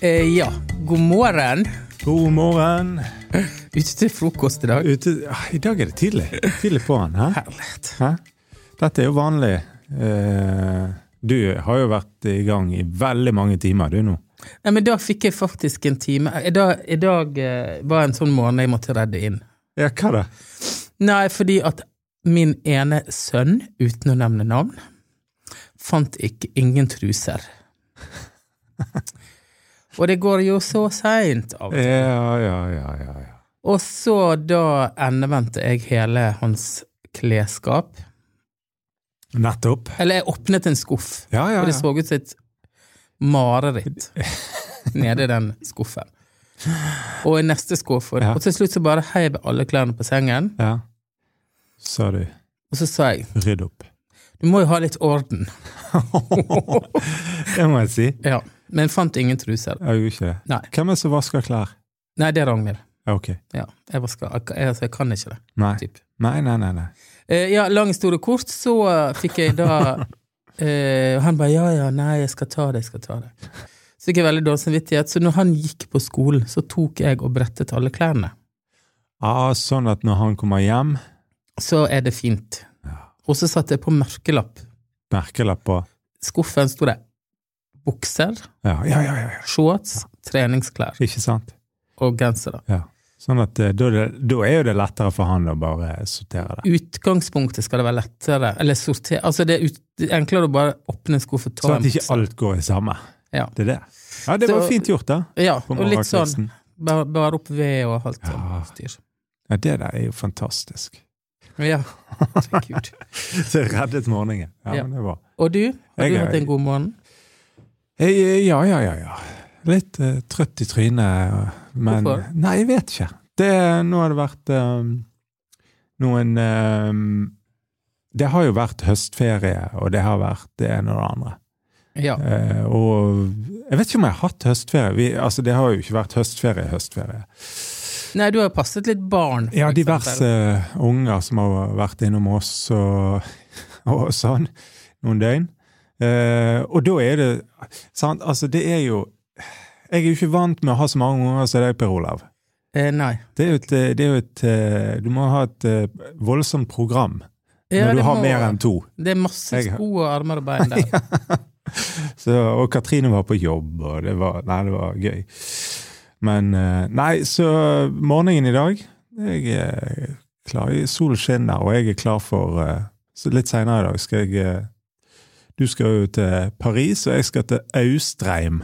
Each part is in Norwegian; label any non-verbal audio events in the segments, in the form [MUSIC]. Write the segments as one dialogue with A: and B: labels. A: Eh, ja, god morgen.
B: God morgen.
A: Ute til frokost i dag.
B: Ute, ah, I dag er det tidlig. Tidlig på'n. Hæ?
A: Herlighet.
B: Hæ? Dette er jo vanlig. Eh, du har jo vært i gang i veldig mange timer, du nå.
A: Nei, men da fikk jeg faktisk en time. I dag, i dag eh, var en sånn måned jeg måtte redde inn.
B: Ja, hva da?
A: Nei, fordi at min ene sønn, uten å nevne navn, fant ikke ingen truser. Og det går jo så seint av.
B: Ja, ja, ja, ja. ja.
A: Og så da endevendte jeg hele hans klesskap.
B: Nettopp.
A: Eller jeg åpnet en skuff.
B: Ja, ja,
A: Og det
B: ja.
A: så ut som et
B: [LAUGHS]
A: mareritt nede i den skuffen. Og i neste skuff. Og,
B: Ja.
A: og til slutt så bare heiv jeg alle klærne på sengen,
B: ja. Sa du.
A: og så sa jeg
B: Rydd opp. [LAUGHS]
A: du må jo ha litt orden.
B: Det må jeg si.
A: Ja, Men fant ingen truser.
B: Jeg gjorde ikke det.
A: Nei.
B: Hvem er det som vasker klær?
A: Nei, det er Ragnhild.
B: Ja, Ok.
A: Ja, jeg, var skal, jeg, altså, jeg kan ikke det.
B: Nei.
A: Typ.
B: Nei, nei, nei. nei.
A: Eh, ja, lang historie kort, så eh, fikk jeg
B: [LAUGHS]
A: da eh, Og han bare ja, ja, nei, jeg skal ta det, jeg skal ta det. Så fikk jeg veldig dårlig samvittighet. Så når han gikk på skolen, så tok jeg og brettet alle klærne.
B: Ah, sånn at når han kommer hjem,
A: så er det fint. Og så satte jeg på merkelapp.
B: merkelapp på
A: Skuffen sto det bukser,
B: ja, ja, ja, ja, ja.
A: shorts, treningsklær
B: Ikke sant?
A: og gensere.
B: Ja. Sånn at eh, da er det- da er jo det lettere for han å bare sortere det.
A: Utgangspunktet skal det være lettere Eller sorter Altså, det er, ut, det er enklere å bare åpne en skuff og ta
B: Sånn
A: en
B: at ikke
A: bukse.
B: alt går i samme.
A: Ja.
B: Det er det. Ja, det var
A: Så-
B: fint gjort, da.
A: ja,
B: på
A: og litt sånn
B: morgenkvisten.
A: bare, bare opp ved og alt
B: Ja.
A: sånt styr.
B: Ja, det der er jo
A: [LAUGHS]
B: fantastisk.
A: Ja. Gud.
B: Så jeg reddet morgenen. Ja,
A: Ja.
B: men det var
A: Og du? Har
B: Jeg
A: du
B: er-
A: hatt en god morgen?
B: jeg, eh, Ja, ja, ja. ja. Litt eh, trøtt i trynet, men
A: Hvorfor?
B: Nei, jeg vet ikke. Det, nå har det vært eh, noen eh, Det har jo vært høstferie, og det har vært det ene og det andre.
A: Ja.
B: Eh, og jeg vet ikke om jeg har hatt høstferie. Vi, altså, det har jo ikke vært høstferie, høstferie.
A: Nei, du har jo passet litt barn. for
B: Ja,
A: eksempel.
B: diverse unger som har vært innom oss og, [LAUGHS] og sånn noen døgn. Eh, og da er det sant, Altså, det er jo Jeg er jo ikke vant med å ha så mange unger som deg, Per Olav.
A: Eh, nei.
B: Det er jo et, det er jo et eh, Du må ha et eh, voldsomt program
A: Ja,
B: når
A: det
B: du har
A: må-
B: mer enn to.
A: Det er masse
B: Jeg-
A: sko og armer og
B: [LAUGHS]
A: bein der.
B: Så, og Katrine var på jobb, og det var, nei, det var gøy. Men eh, Nei, så morgenen i dag Jeg er klar. Solen skinner, og jeg er klar for eh, Så litt seinere i dag skal jeg eh, Du skal jo til Paris, og jeg skal til Austreim.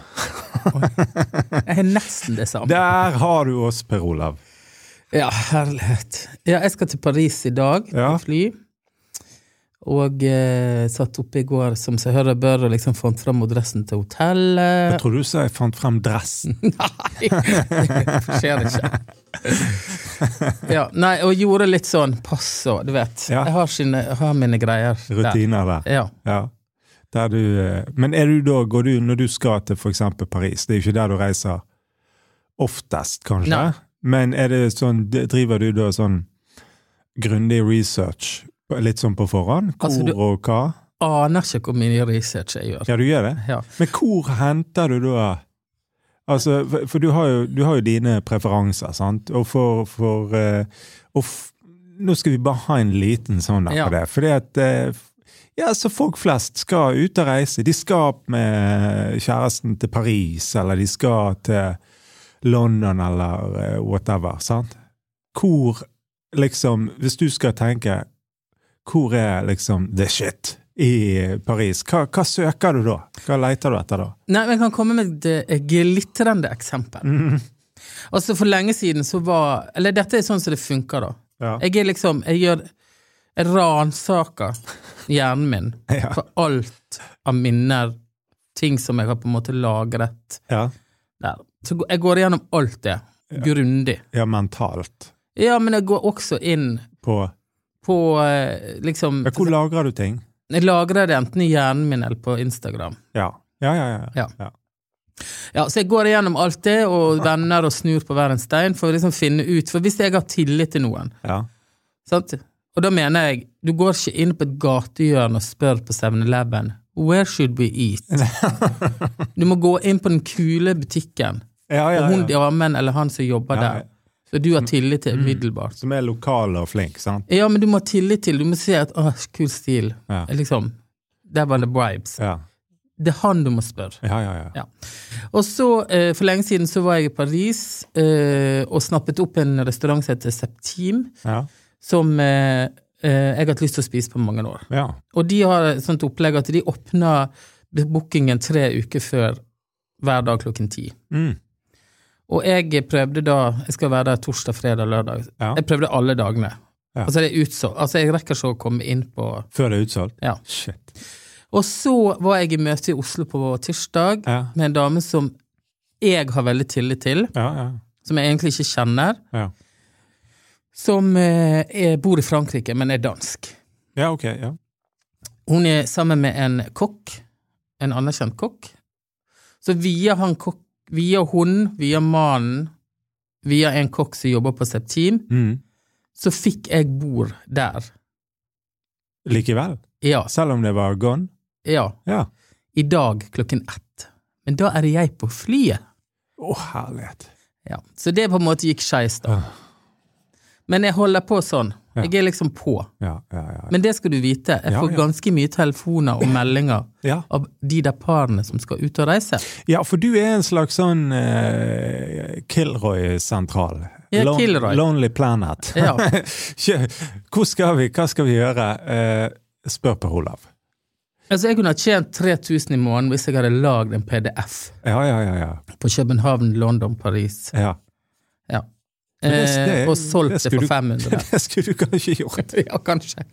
A: Jeg har nesten det samme.
B: Der har du oss, Per Olav.
A: Ja, herlighet. Ja, jeg skal til Paris i dag,
B: Ja.
A: med fly. Og eh, satt oppe i går som seg hør og bør, og liksom fant fram dressen til
B: Jeg
A: hotellet. [LAUGHS]
B: tror du sa jeg fant frem dressen.
A: Nei! Det skjer ikke. Ja, nei, og gjorde litt sånn pass og du vet.
B: Ja.
A: Jeg har, sine, jeg har mine greier der.
B: Rutiner der.
A: Ja.
B: Ja. Der du, eh, men er du da, går du når du skal til f.eks. Paris, det er jo ikke der du reiser oftest, kanskje?
A: Nei.
B: Men er det sånn, d- driver du da sånn grundig research litt sånn på forhånd? Hvor
A: Altså, du-
B: og hva?
A: Aner ikke hvor mye research jeg gjør.
B: Ja, du gjør det?
A: Ja.
B: Men hvor henter du da Altså, for, for du, har jo, du har jo dine preferanser, sant? Og for, for eh, og f, Nå skal vi bare ha en liten sånn der
A: Ja.
B: på det. Fordi at eh, Ja, så folk flest skal ut og reise. De skal med kjæresten til Paris, eller de skal til London, eller eh, whatever, sant? Hvor liksom Hvis du skal tenke Hvor er liksom the shit i Paris? Hva, hva søker du da? Hva leter du etter da?
A: Nei, men jeg kan komme med et eh, glitrende eksempel.
B: Mm.
A: Altså, for lenge siden så var Eller dette er sånn som det funker, da.
B: Ja.
A: Jeg er liksom Jeg gjør Jeg ransaker hjernen min
B: [LAUGHS] Ja.
A: for alt av minner, ting som jeg har på en måte lagret
B: Ja,
A: der. Så jeg går igjennom alt det, grundig.
B: ja mentalt.
A: Ja, men jeg går også inn
B: På
A: på eh, liksom
B: ja, Hvor lagrer du ting?
A: Jeg lagrer det enten i hjernen min eller på Instagram.
B: Ja. Ja, ja, ja.
A: Ja. Ja, Så jeg går igjennom alt det, og
B: [LAUGHS]
A: vender og snur på hver en stein for å liksom finne ut For hvis jeg har tillit til noen,
B: ja.
A: Sant? Og da mener jeg, du går ikke inn på et gatehjørne og spør på 7-Eleven Where should we
B: [LAUGHS]
A: eat? Du må gå inn på den kule butikken,
B: Ja,
A: og
B: ja,
A: hun
B: ja.
A: damen eller han som jobber
B: Ja, ja. Mm.
A: der. Så du har tillit til umiddelbart.
B: Som er lokal og flink, sant?
A: Ja, men du må ha tillit til, du må si at åh, kul stil.
B: Ja.
A: Liksom. Der var det bribes.
B: Ja,
A: Det er han du må spørre.
B: ja, ja. ja.
A: Ja. Og så, eh, for lenge siden så var jeg i Paris eh, og snappet opp en restaurant som heter Septim,
B: ja.
A: som eh, eh, jeg har hatt lyst til å spise på mange år.
B: ja.
A: Og de har et sånt opplegg at de åpner bookingen tre uker før hver dag klokken ti.
B: Mm.
A: Og jeg prøvde da Jeg skal være der torsdag, fredag, lørdag.
B: Ja.
A: Jeg prøvde alle dagene.
B: Ja.
A: Altså, det er utsolgt. Altså, jeg rekker ikke å komme inn på
B: Før det er utsolgt?
A: Ja.
B: Shit.
A: Og så var jeg i møte i Oslo på tirsdag
B: Ja,
A: med en dame som jeg har veldig tillit til,
B: ja, ja.
A: som jeg egentlig ikke kjenner,
B: Ja,
A: som eh, er, bor i Frankrike, men er dansk.
B: ja ok. Ja.
A: Hun er sammen med en kokk, en anerkjent kokk. Så via han kokk, via hun, via mannen, via en kokk som jobber på Septim,
B: Mm.
A: så fikk jeg bord der.
B: Likevel.
A: Ja,
B: Selv om det var gone?
A: ja.
B: Ja.
A: I dag klokken ett. Men da er jeg på flyet.
B: Å, herlighet.
A: Ja, Så det på en måte gikk skeis, da. Men jeg holder på sånn. Jeg er liksom på.
B: Ja, ja, ja.
A: Men det skal du vite, jeg
B: Ja,
A: får
B: ja.
A: ganske mye telefoner og meldinger
B: ja.
A: av de der parene som skal ut og
B: [LAUGHS]
A: reise.
B: Ja, for du er en slags sånn eh, Kilroy-sentral.
A: Ja, Kilroy.
B: Lonely Planet.
A: Ja.
B: Kjø- Hvor skal vi? Hva skal vi gjøre? Eh, spør Per Olav.
A: Altså, jeg kunne ha tjent 3000 i måneden hvis jeg hadde lagd en PDF
B: Ja, ja, ja. ja.
A: på København, London, Paris.
B: ja.
A: Ja.
B: Men det- det-
A: Eh, og solgt det for
B: skulle du-
A: 500.
B: [LAUGHS] Det skulle du kanskje gjort.
A: ja, kanskje.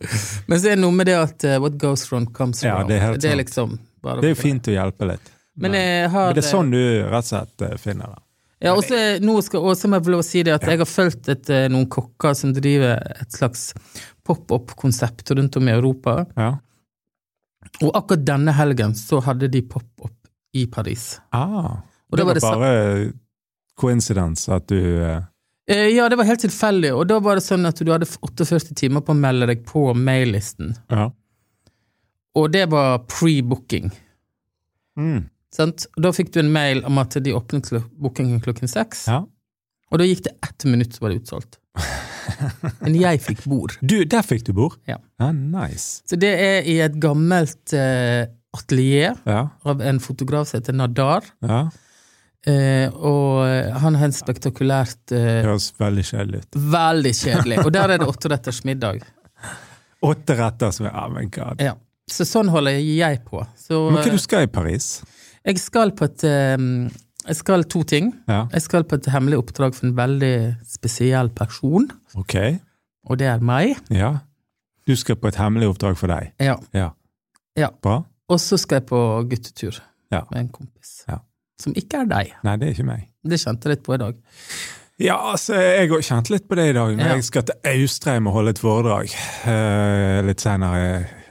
A: Men så er det noe med det at eh, what goes round comes
B: Ja,
A: round.
B: det er helt sant.
A: liksom bare
B: Det er jo fint å hjelpe litt.
A: Men eh, jeg har
B: Men det er sånn du rett og slett eh, finner det.
A: Ja, og så er- nå skal også må jeg få lov å si det at jeg har fulgt et, eh, noen kokker som driver et slags pop-up-konsept rundt om i Europa.
B: Ja.
A: Og akkurat denne helgen så hadde de pop-up i Paris.
B: Ah,
A: Og
B: det
A: da var
B: var
A: det sa-
B: bare coincidence at du eh,
A: Eh, ja, det var helt tilfeldig, og da var det sånn at du hadde 48 timer på å melde deg på maillisten.
B: Ja.
A: Og det var pre-booking.
B: Mm.
A: sant? Og Da fikk du en mail om at de åpnet kl- bookingen klokken seks,
B: ja.
A: og da gikk det ett minutt, så var det
B: [LAUGHS]
A: utsolgt. Men jeg fikk bord.
B: Du, der fikk du bord?
A: Ja.
B: Ah, nice.
A: Så det er i et gammelt eh, atelier
B: Ja.
A: av en fotograf som heter Nadar.
B: ja.
A: Eh, og eh, han har en spektakulært eh,
B: Høres veldig kjedelig ut.
A: Veldig kjedelig. Og der er det åtte retters middag.
B: Åtte retter som er oh my god.
A: Ja. Så sånn holder jeg på. Så
B: Men hva
A: eh,
B: du skal i Paris?
A: jeg skal på et eh, Jeg skal to ting.
B: Ja,
A: Jeg skal på et hemmelig oppdrag for en veldig spesiell person,
B: ok.
A: og det er meg.
B: Ja. Du skal på et hemmelig oppdrag for deg.
A: Ja.
B: Ja.
A: Ja.
B: Bra.
A: Og så skal jeg på guttetur
B: Ja.
A: med en kompis.
B: Ja.
A: Som ikke er deg.
B: Nei, det er ikke meg.
A: Det kjente jeg litt på i
B: [LAUGHS]
A: dag.
B: Ja, altså, jeg har kjent litt på det i dag. Når
A: Ja.
B: jeg skal til Austrheim og holde et foredrag eh, litt senere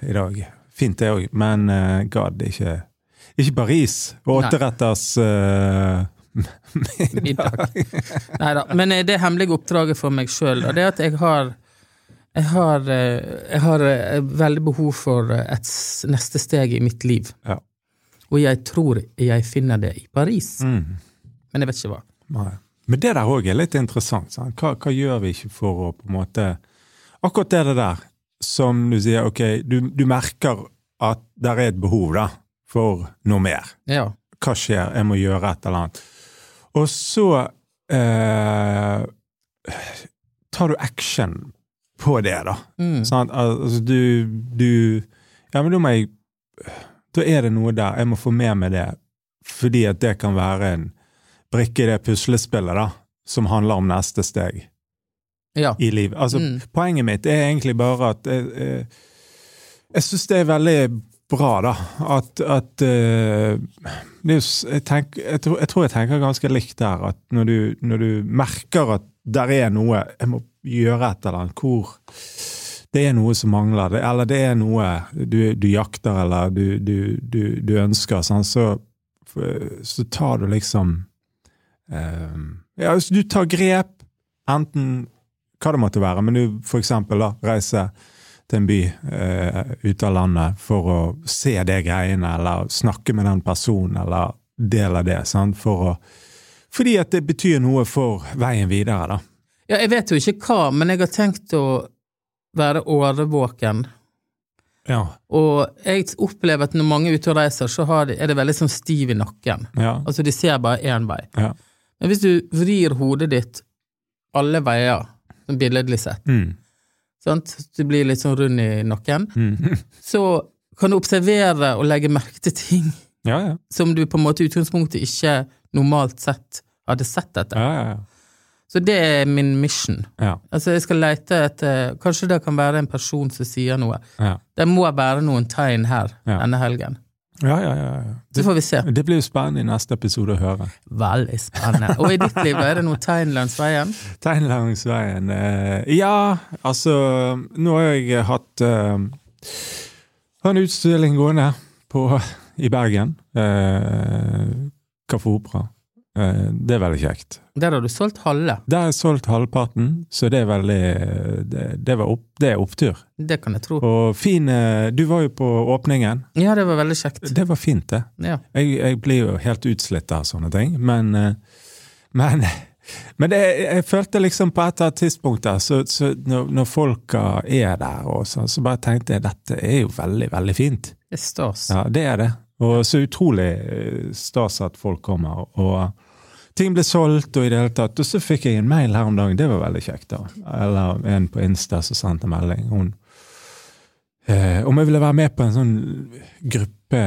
B: i dag. Fint det òg, men eh, god, det er ikke, ikke Paris. Og
A: Nei.
B: Åtteretters eh,
A: middag. Neida, Men eh, det hemmelige oppdraget for meg sjøl, det er at jeg har jeg har, eh, jeg har eh, veldig behov for eh, et s- neste steg i mitt liv.
B: Ja.
A: Og jeg tror jeg finner det i Paris,
B: mm,
A: men jeg vet ikke hva.
B: Nei. Men det der òg er litt interessant. Sant? Hva, hva gjør vi ikke for å på en måte Akkurat det der som du sier, ok, du, du merker at der er et behov da, for noe mer.
A: Ja.
B: Hva skjer? Jeg må gjøre et eller annet. Og så eh, tar du action på det, da.
A: Mm.
B: Sant? altså, du, du Ja, men da må jeg Da er det noe der. Jeg må få med meg det. Fordi at det kan være en brikke i det puslespillet da, som handler om neste steg
A: ja.
B: i livet. Altså,
A: Mm.
B: Poenget mitt er egentlig bare at Jeg, jeg, jeg syns det er veldig bra, da. At, at eh, det er jo, s- jeg, tenk, jeg, tror, jeg tror jeg tenker ganske likt der. At når du, når du merker at der er noe Jeg må gjøre et eller annet. Hvor det er noe som mangler, det, eller det er noe du, du jakter eller du, du, du, du ønsker, sånn, så, så tar du liksom eh, ja, altså, Du tar grep, enten hva det måtte være, men du for eksempel da, reise til en by eh, ute av landet for å se de greiene, eller snakke med den personen, eller del av det. Sant? For å, fordi at det betyr noe for veien videre, da.
A: Ja, jeg vet jo ikke hva, men jeg har tenkt å være årvåken.
B: Ja.
A: Og jeg opplever at når mange er ute og reiser, så har de, er det veldig sånn stiv i nakken.
B: ja,
A: Altså, de ser bare én vei.
B: ja.
A: Men hvis du vrir hodet ditt alle veier, sånn billedlig sett,
B: Mm,
A: sant? du blir litt sånn rund i nakken,
B: mm. [LAUGHS]
A: så kan du observere og legge merke til ting
B: ja, ja.
A: som du på en måte i utgangspunktet ikke normalt sett hadde sett etter.
B: ja, ja,
A: Så det er min mission.
B: ja.
A: Altså, jeg skal leite etter Kanskje det kan være en person som sier noe.
B: ja.
A: Det må være noen tegn her
B: Ja.
A: denne helgen.
B: Ja, ja, ja. ja.
A: Så får vi se.
B: Det, det blir jo spennende i neste episode å høre.
A: Veldig spennende. [LAUGHS] Og i ditt liv, er det noen tegn langs veien?
B: Tegn langs veien eh, Ja, altså Nå har jeg hatt eh, har en utstilling gående på, i Bergen. Eh, Kaffe Opera. Eh, det er veldig kjekt.
A: Der har du solgt halve.
B: Der har jeg solgt halvparten, så det er veldig Det, det, var opp, det er opptur.
A: Det kan jeg tro.
B: Og fin eh, Du var jo på åpningen.
A: Ja, det var veldig kjekt.
B: Det var fint, det.
A: Ja.
B: Jeg, jeg blir jo helt utslitt av sånne ting, men eh, Men, [LAUGHS] men det, jeg følte liksom på et eller annet tidspunkt der, så, så når, når folka er der, og sånn, så bare tenkte jeg dette er jo veldig, veldig fint.
A: Det er stas.
B: Ja, det er det. Og så utrolig eh, stas at folk kommer. og eh, Ting ble solgt og i det hele tatt. Og så fikk jeg en mail her om dagen, det var veldig kjekt. da. Eller en på Insta som sendte en melding. Hun, eh, om jeg ville være med på en sånn gruppe,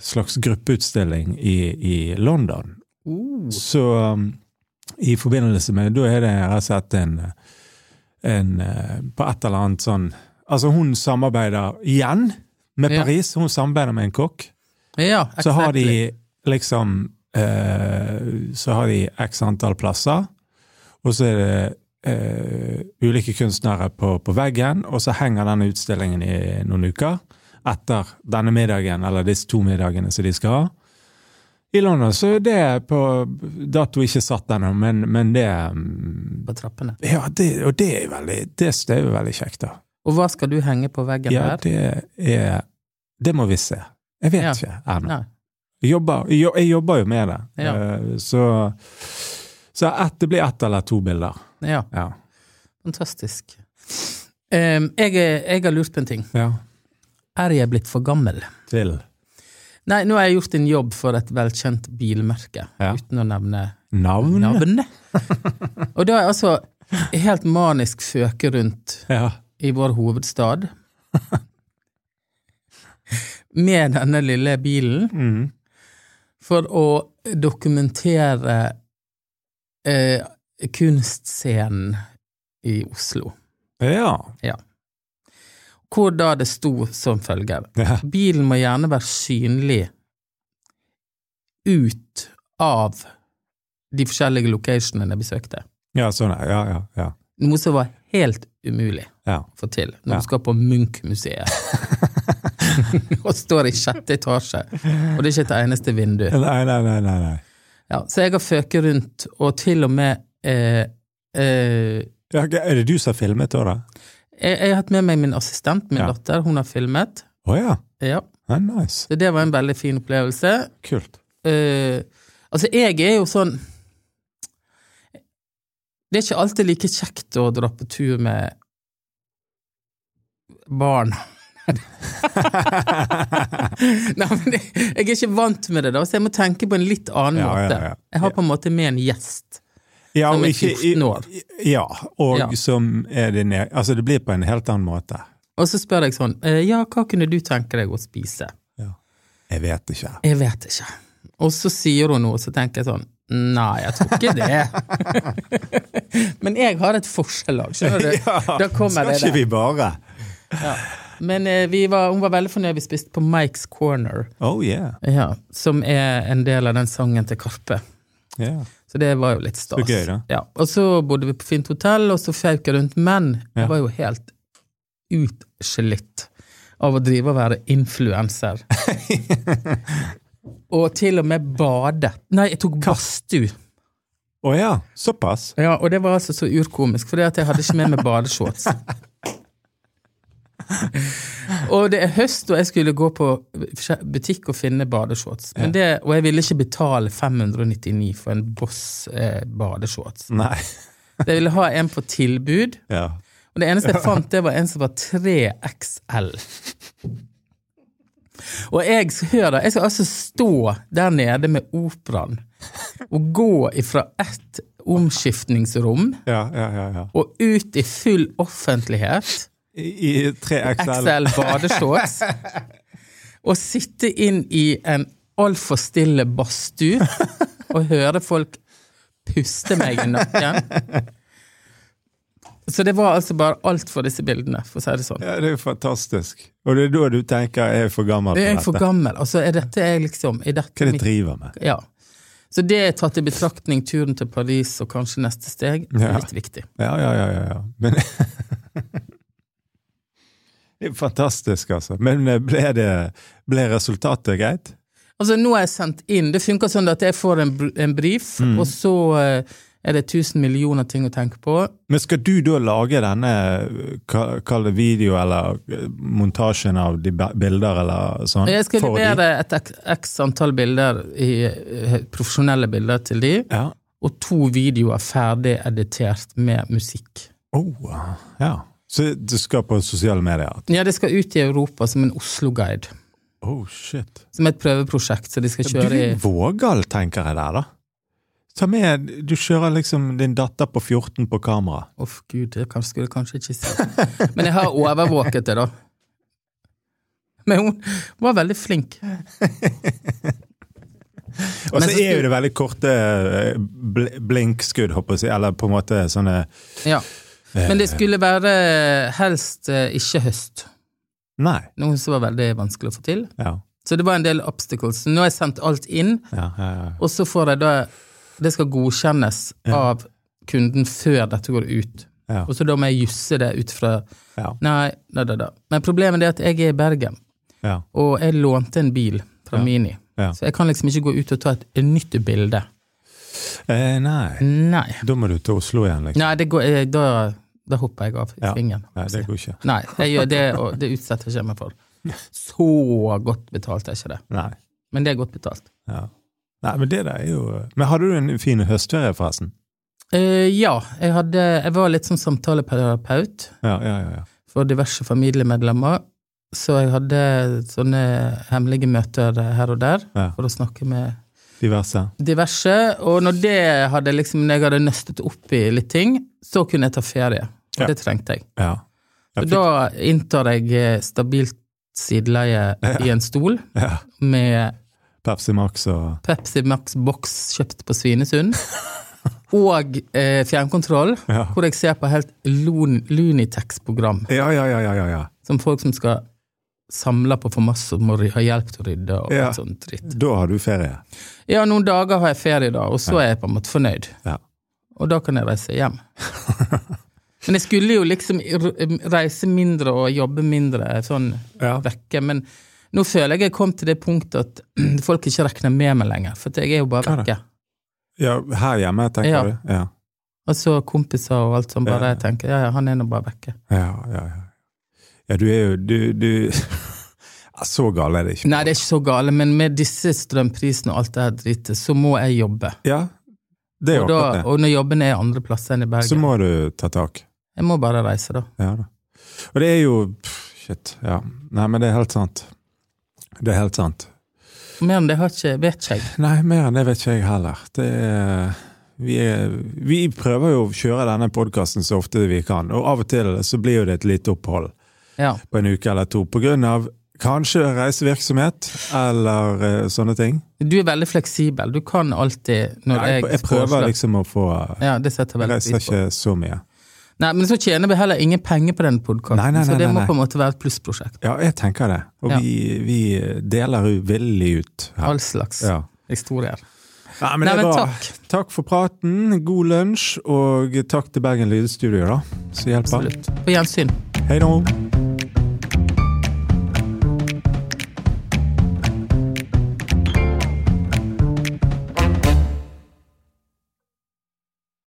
B: slags gruppeutstilling i, i London.
A: Oh.
B: Så um, i forbindelse med Da er det rett og slett en, en eh, På et eller annet sånn Altså, hun samarbeider igjen med
A: Ja.
B: Paris. Hun samarbeider med en kokk.
A: Ja,
B: Så har
A: exactly.
B: de liksom eh, Så har de x antall plasser, og så er det eh, ulike kunstnere på, på veggen, og så henger denne utstillingen i noen uker etter denne middagen, eller disse to middagene som de skal ha. I London så er det på dato ikke satt ennå, men, men det mm,
A: På trappene.
B: Ja, det, og det er veldig, det, det er jo veldig kjekt, da.
A: Og hva skal du henge på veggen
B: Ja,
A: der?
B: det er Det må vi se. Jeg vet
A: Ja.
B: ikke ennå.
A: Nei.
B: Jeg jobber, jo- jeg jobber jo med det.
A: Ja.
B: Eh, Så, så ett- det blir ett eller to bilder.
A: Ja,
B: Ja.
A: fantastisk. Em, jeg, er- jeg har lurt på en ting. Er jeg blitt for gammel?
B: Til
A: Nei, nå har jeg gjort en jobb for et velkjent bilmerke,
B: Ja.
A: uten å nevne
B: navn.
A: navn. Og da er jeg altså helt manisk føke rundt
B: Ja.
A: i vår hovedstad med denne lille bilen
B: Mm.
A: for å dokumentere eh, kunstscenen i Oslo.
B: ja. [LAUGHS]
A: Hvor da det sto som følger
B: Ja.
A: Bilen må gjerne være synlig ut av de forskjellige locationene jeg besøkte.
B: Ja, sånn er ja, ja, ja.
A: Noe som var helt umulig.
B: ja.
A: få til når
B: Ja.
A: du skal på
B: [LAUGHS]
A: Munch-museet. og står i sjette etasje, og det er ikke et eneste vindu.
B: Nei, nei, nei, nei. nei.
A: Ja, så jeg har føket rundt, og til og med eh, eh,
B: Ja, ok, er det du som har filmet da, da?
A: jeg, jeg har hatt med meg min assistent, min
B: Ja.
A: datter, hun har filmet.
B: Å ja.
A: Ja,
B: ja. Nice.
A: så det var en veldig fin opplevelse.
B: Kult.
A: Eh, altså, jeg er jo sånn Det er ikke alltid like kjekt å dra på tur med barn. [LAUGHS] Nei, men det, jeg er ikke vant med det, da, så jeg må tenke på en litt annen
B: Ja, ja,
A: måte.
B: ja.
A: Jeg har på en måte med en gjest.
B: Ja,
A: Som
B: og
A: er
B: ikke,
A: 14 år.
B: ja, og
A: Ja.
B: som er din e- Altså, det blir på en helt annen måte.
A: Og så spør jeg sånn eh, Ja, hva kunne du tenke deg å spise?
B: Jeg vet ikke.
A: Jeg vet ikke. Og så sier hun noe, så tenker jeg sånn Nei, jeg tror ikke det. [LAUGHS] Men jeg har et forskjellag,
B: [LAUGHS]
A: skjønner du. da kommer
B: skal
A: det
B: ikke
A: der.
B: vi bare
A: Men eh, vi var, hun var veldig fornøyd. Vi spiste på Mike's Corner,
B: Oh yeah.
A: ja, som er en del av den sangen til Karpe.
B: yeah.
A: Så det var jo litt stas.
B: Så gøy, da.
A: Ja. Og så bodde vi på fint hotell, og så føk jeg rundt. Men
B: Ja.
A: jeg var jo helt utslitt av å drive og være
B: [LAUGHS]
A: influenser. og til og med bade. Nei, jeg tok badstue.
B: Å ja, såpass? [LAUGHS]
A: Ja, og det var altså så urkomisk, for jeg hadde ikke med meg badeshorts. Og det er høst, og jeg skulle gå på butikk og finne badeshorts. Men det, og jeg ville ikke betale 599 for en Boss eh, badeshorts.
B: Nei.
A: Jeg ville ha en på tilbud,
B: Ja.
A: og det eneste jeg fant, det var en som var 3XL. Og jeg hør da, jeg skal altså stå der nede med operaen og gå ifra ett omskiftningsrom
B: Ja, ja, ja. ja.
A: og ut i full offentlighet.
B: I, i 3XL.
A: XL badeshorts. Og sitte inn i en altfor stille badstue og høre folk puste meg i nakken. Så det var altså bare alt for disse bildene, for å si det sånn.
B: Ja, det er jo fantastisk. Og det er da du tenker jeg er for gammel
A: Det er jeg
B: for
A: for
B: dette.
A: gammel. Altså, er dette jeg liksom er dette
B: Hva er det
A: mitt-
B: jeg driver med?
A: ja. Så det er tatt i betraktning turen til Paris og kanskje neste steg, det
B: Ja.
A: er litt viktig.
B: Ja, ja, ja. ja, ja. Men [LAUGHS] Det er fantastisk, altså. Men eh, ble, det, ble resultatet greit?
A: Altså, nå har jeg sendt inn Det funker sånn at jeg får en, br- en brief, og så eh, er det tusen millioner ting å tenke på.
B: Men skal du da lage denne ka- kall det video eller eh, montasjen av de ba- bilder eller sånn?
A: Jeg skal
B: for de?
A: levere et ek- x antall bilder, i, eh, profesjonelle bilder til de,
B: Ja.
A: og to videoer ferdig editert med musikk.
B: Oh, ja. Så du skal på sosiale medier?
A: Ja, det skal ut i Europa som en Oslo-guide.
B: Oh, shit.
A: Som et prøveprosjekt, så de skal
B: Du
A: kjøre i
B: er vågal, tenker jeg der, da. Ta med, Du kjører liksom din datter på 14 på kamera.
A: Uff, gud, det kan- skulle jeg kanskje ikke si. Men jeg har overvåket det, da. Men hun var veldig flink.
B: Og
A: Men
B: så
A: så
B: er
A: skulle-
B: jo det veldig korte eh, bl- blinkskudd, håper jeg å si, eller på en måte sånne
A: Ja. Men det skulle være helst eh, ikke høst.
B: Nei.
A: Noe som var veldig vanskelig å få til.
B: Ja.
A: Så det var en del obstacles. Nå har jeg sendt alt inn.
B: Ja, eh, ja, ja.
A: Og så får jeg da Det skal godkjennes av kunden før dette går ut.
B: Ja.
A: Og så da må jeg jusse det ut fra
B: Ja.
A: Nei, da, da, da. Men problemet er at jeg er i Bergen,
B: ja.
A: og jeg lånte en bil fra Mini.
B: Ja.
A: Så jeg kan liksom ikke gå ut og ta et, nytt bilde.
B: Eh, nei.
A: Nei.
B: Da må du til Oslo igjen, liksom.
A: Nei, det går, jeg, da, da hopper jeg av i
B: Ja.
A: svingen.
B: Nei, det går ikke.
A: Nei, jeg gjør det, og det utsetter jeg ikke meg for. Så godt betalt er ikke det.
B: Nei.
A: Men det er godt betalt.
B: Ja. Nei, men det der er jo Men hadde du en fin høstferie, forresten?
A: Eh, ja, jeg, hadde, jeg var litt sånn samtaleterapeut.
B: Ja, ja, ja. ja.
A: for diverse familiemedlemmer. Så jeg hadde sånne hemmelige møter her og der
B: Ja.
A: for å snakke med
B: Diverse.
A: diverse. Og når det hadde liksom, når jeg hadde nøstet opp i litt ting, så kunne jeg ta ferie. Og
B: Ja.
A: det trengte jeg.
B: Ja. Ja,
A: Og da inntar jeg eh, stabilt sideleie i en stol
B: Ja.
A: med
B: Pepsi Max og
A: Pepsi Max boks kjøpt på
B: [LAUGHS]
A: Svinesund. Og eh, fjernkontroll,
B: Ja.
A: hvor jeg ser på helt lun- Lunitex-program.
B: Ja, ja, ja, ja. ja, ja.
A: Som folk som skal samle på for masse og må ry- ha hjelp til å rydde og
B: Ja.
A: sånn dritt.
B: Da har du ferie.
A: Ja, noen dager har jeg ferie da, og så er jeg på en måte fornøyd.
B: Ja.
A: Og da kan jeg reise
B: [LAUGHS]
A: hjem. men jeg skulle jo liksom r- reise mindre og jobbe mindre sånn
B: Ja.
A: vekke, men nå føler jeg jeg kom til det punktet at [CLEARS THROAT] folk ikke regner med meg lenger, for at jeg er jo bare
B: Hva da?
A: vekke.
B: ja her hjemme, tenker
A: Ja.
B: du? Ja.
A: Altså kompiser og alt sånn, bare
B: Ja.
A: jeg tenker ja, ja, han er nå bare vekke.
B: Ja, ja, ja. Ja, du er jo Du, du [LAUGHS] Ja, Så gal er det ikke.
A: Nei, det er ikke så gale, men med disse strømprisene og alt det her dritet, så må jeg jobbe.
B: Ja, det er jo
A: Og, da,
B: akkurat det.
A: og når jobben er andre plasser enn i
B: Så
A: Bergen.
B: må du ta tak.
A: Jeg må bare reise, da.
B: Ja da. Og det er jo pff, Shit. Ja. Nei, men det er helt sant. Det er helt sant.
A: Mer enn det har ikke, vet ikke jeg.
B: Nei, mer enn det vet ikke jeg heller. Det er vi, er, vi prøver jo å kjøre denne podkasten så ofte vi kan, og av og til så blir jo det et lite opphold.
A: Ja.
B: på en uke eller to pga. kanskje reisevirksomhet eller eh, sånne ting.
A: Du er veldig fleksibel. Du kan alltid når
B: Jeg,
A: jeg,
B: jeg prøver
A: foreslår-
B: liksom å få
A: Ja, det setter jeg
B: Jeg
A: veldig
B: reiser
A: pris på.
B: ikke så mye.
A: Nei, men så tjener vi heller ingen penger på den
B: Nei,
A: podkasten,
B: nei,
A: så
B: nei,
A: det
B: nei,
A: må
B: nei.
A: på en måte være et plussprosjekt.
B: Ja, jeg tenker det. Og
A: Ja.
B: vi, vi deler jo villig ut her.
A: All slags
B: Ja.
A: historier.
B: Nei, men,
A: Nei,
B: det er
A: men
B: bra.
A: takk.
B: Takk for praten, god lunsj, og takk til Bergen Lydstudio, da, som hjelper.
A: Absolutt. På gjensyn.
B: Hei nå.